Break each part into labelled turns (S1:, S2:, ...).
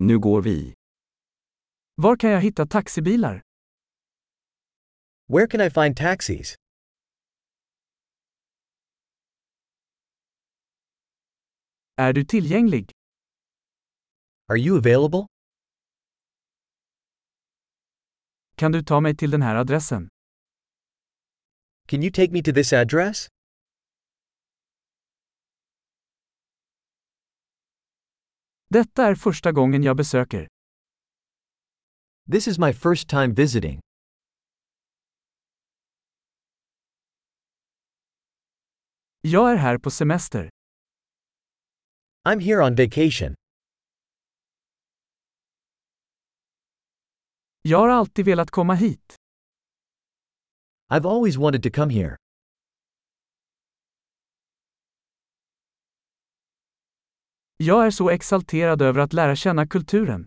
S1: Nu går vi.
S2: Var kan jag hitta taxibilar?
S3: Where can I find taxis?
S2: Är du tillgänglig?
S3: Are you available?
S2: Kan du ta mig till den här adressen?
S3: Can you take me to this address?
S2: Detta är första gången jag besöker.
S3: This is my first time visiting.
S2: Jag är här på semester.
S3: I'm here on vacation.
S2: Jag har alltid velat komma hit.
S3: I've always wanted to come here.
S2: Jag är så exalterad över att lära känna kulturen.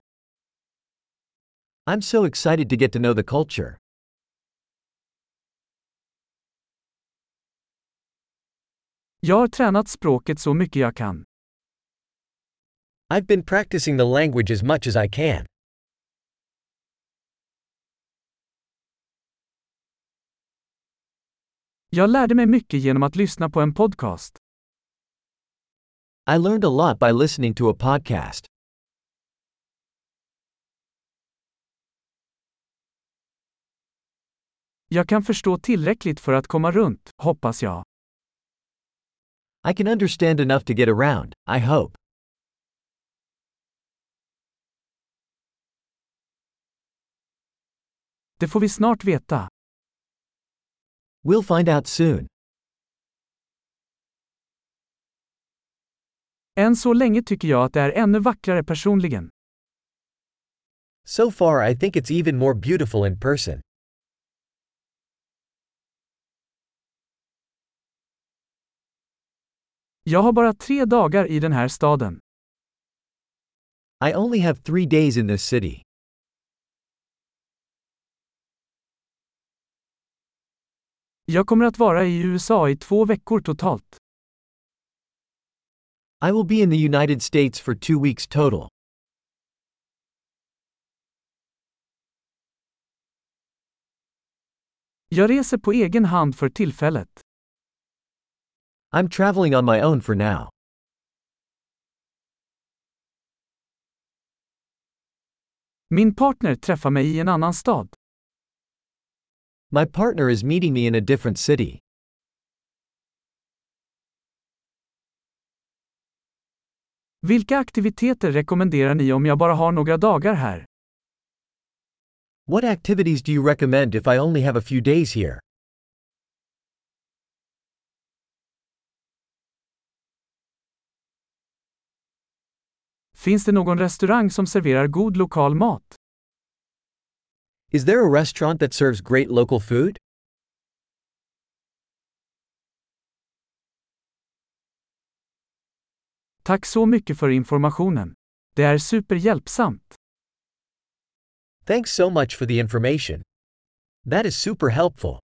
S3: I'm so excited to get to know the culture.
S2: Jag har tränat språket så mycket jag kan.
S3: I've been practicing the language as much as I can.
S2: Jag lärde mig mycket genom att lyssna på en podcast.
S3: I learned a lot by listening to a podcast.
S2: Jag kan förstå tillräckligt för att komma runt, hoppas jag.
S3: I can understand enough to get around, I hope.
S2: Det får vi snart veta.
S3: We'll find out soon.
S2: Än så länge tycker jag att det är ännu vackrare personligen.
S3: So far, I think it's even more beautiful in person.
S2: Jag har bara tre dagar i den här staden.
S3: I only have three days in this city.
S2: Jag kommer att vara i USA i två veckor totalt.
S3: I will be in the United States for two weeks total.
S2: Jag reser på egen hand för tillfället.
S3: I'm traveling on my own for now.
S2: Min partner träffar mig i en annan stad.
S3: My partner is meeting me in a different city.
S2: Vilka aktiviteter rekommenderar ni om jag bara har några dagar här?
S3: What activities do you recommend if I only have a few days here?
S2: Finns det någon restaurang som serverar god lokal mat?
S3: Is there a restaurant that serves great local food?
S2: Tack så mycket för informationen. Det är superhjälpsamt.
S3: Thanks so much for the information. That is super helpful.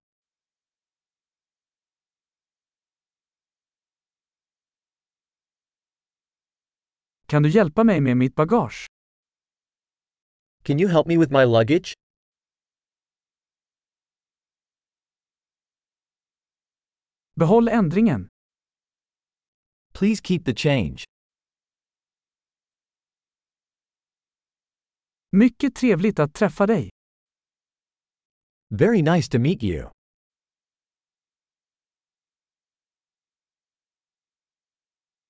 S2: Kan du hjälpa mig med mitt bagage?
S3: Can you help me with my luggage?
S2: Behåll ändringen.
S3: Please keep the change.
S2: Mycket trevligt att träffa dig.
S3: Very nice to meet you.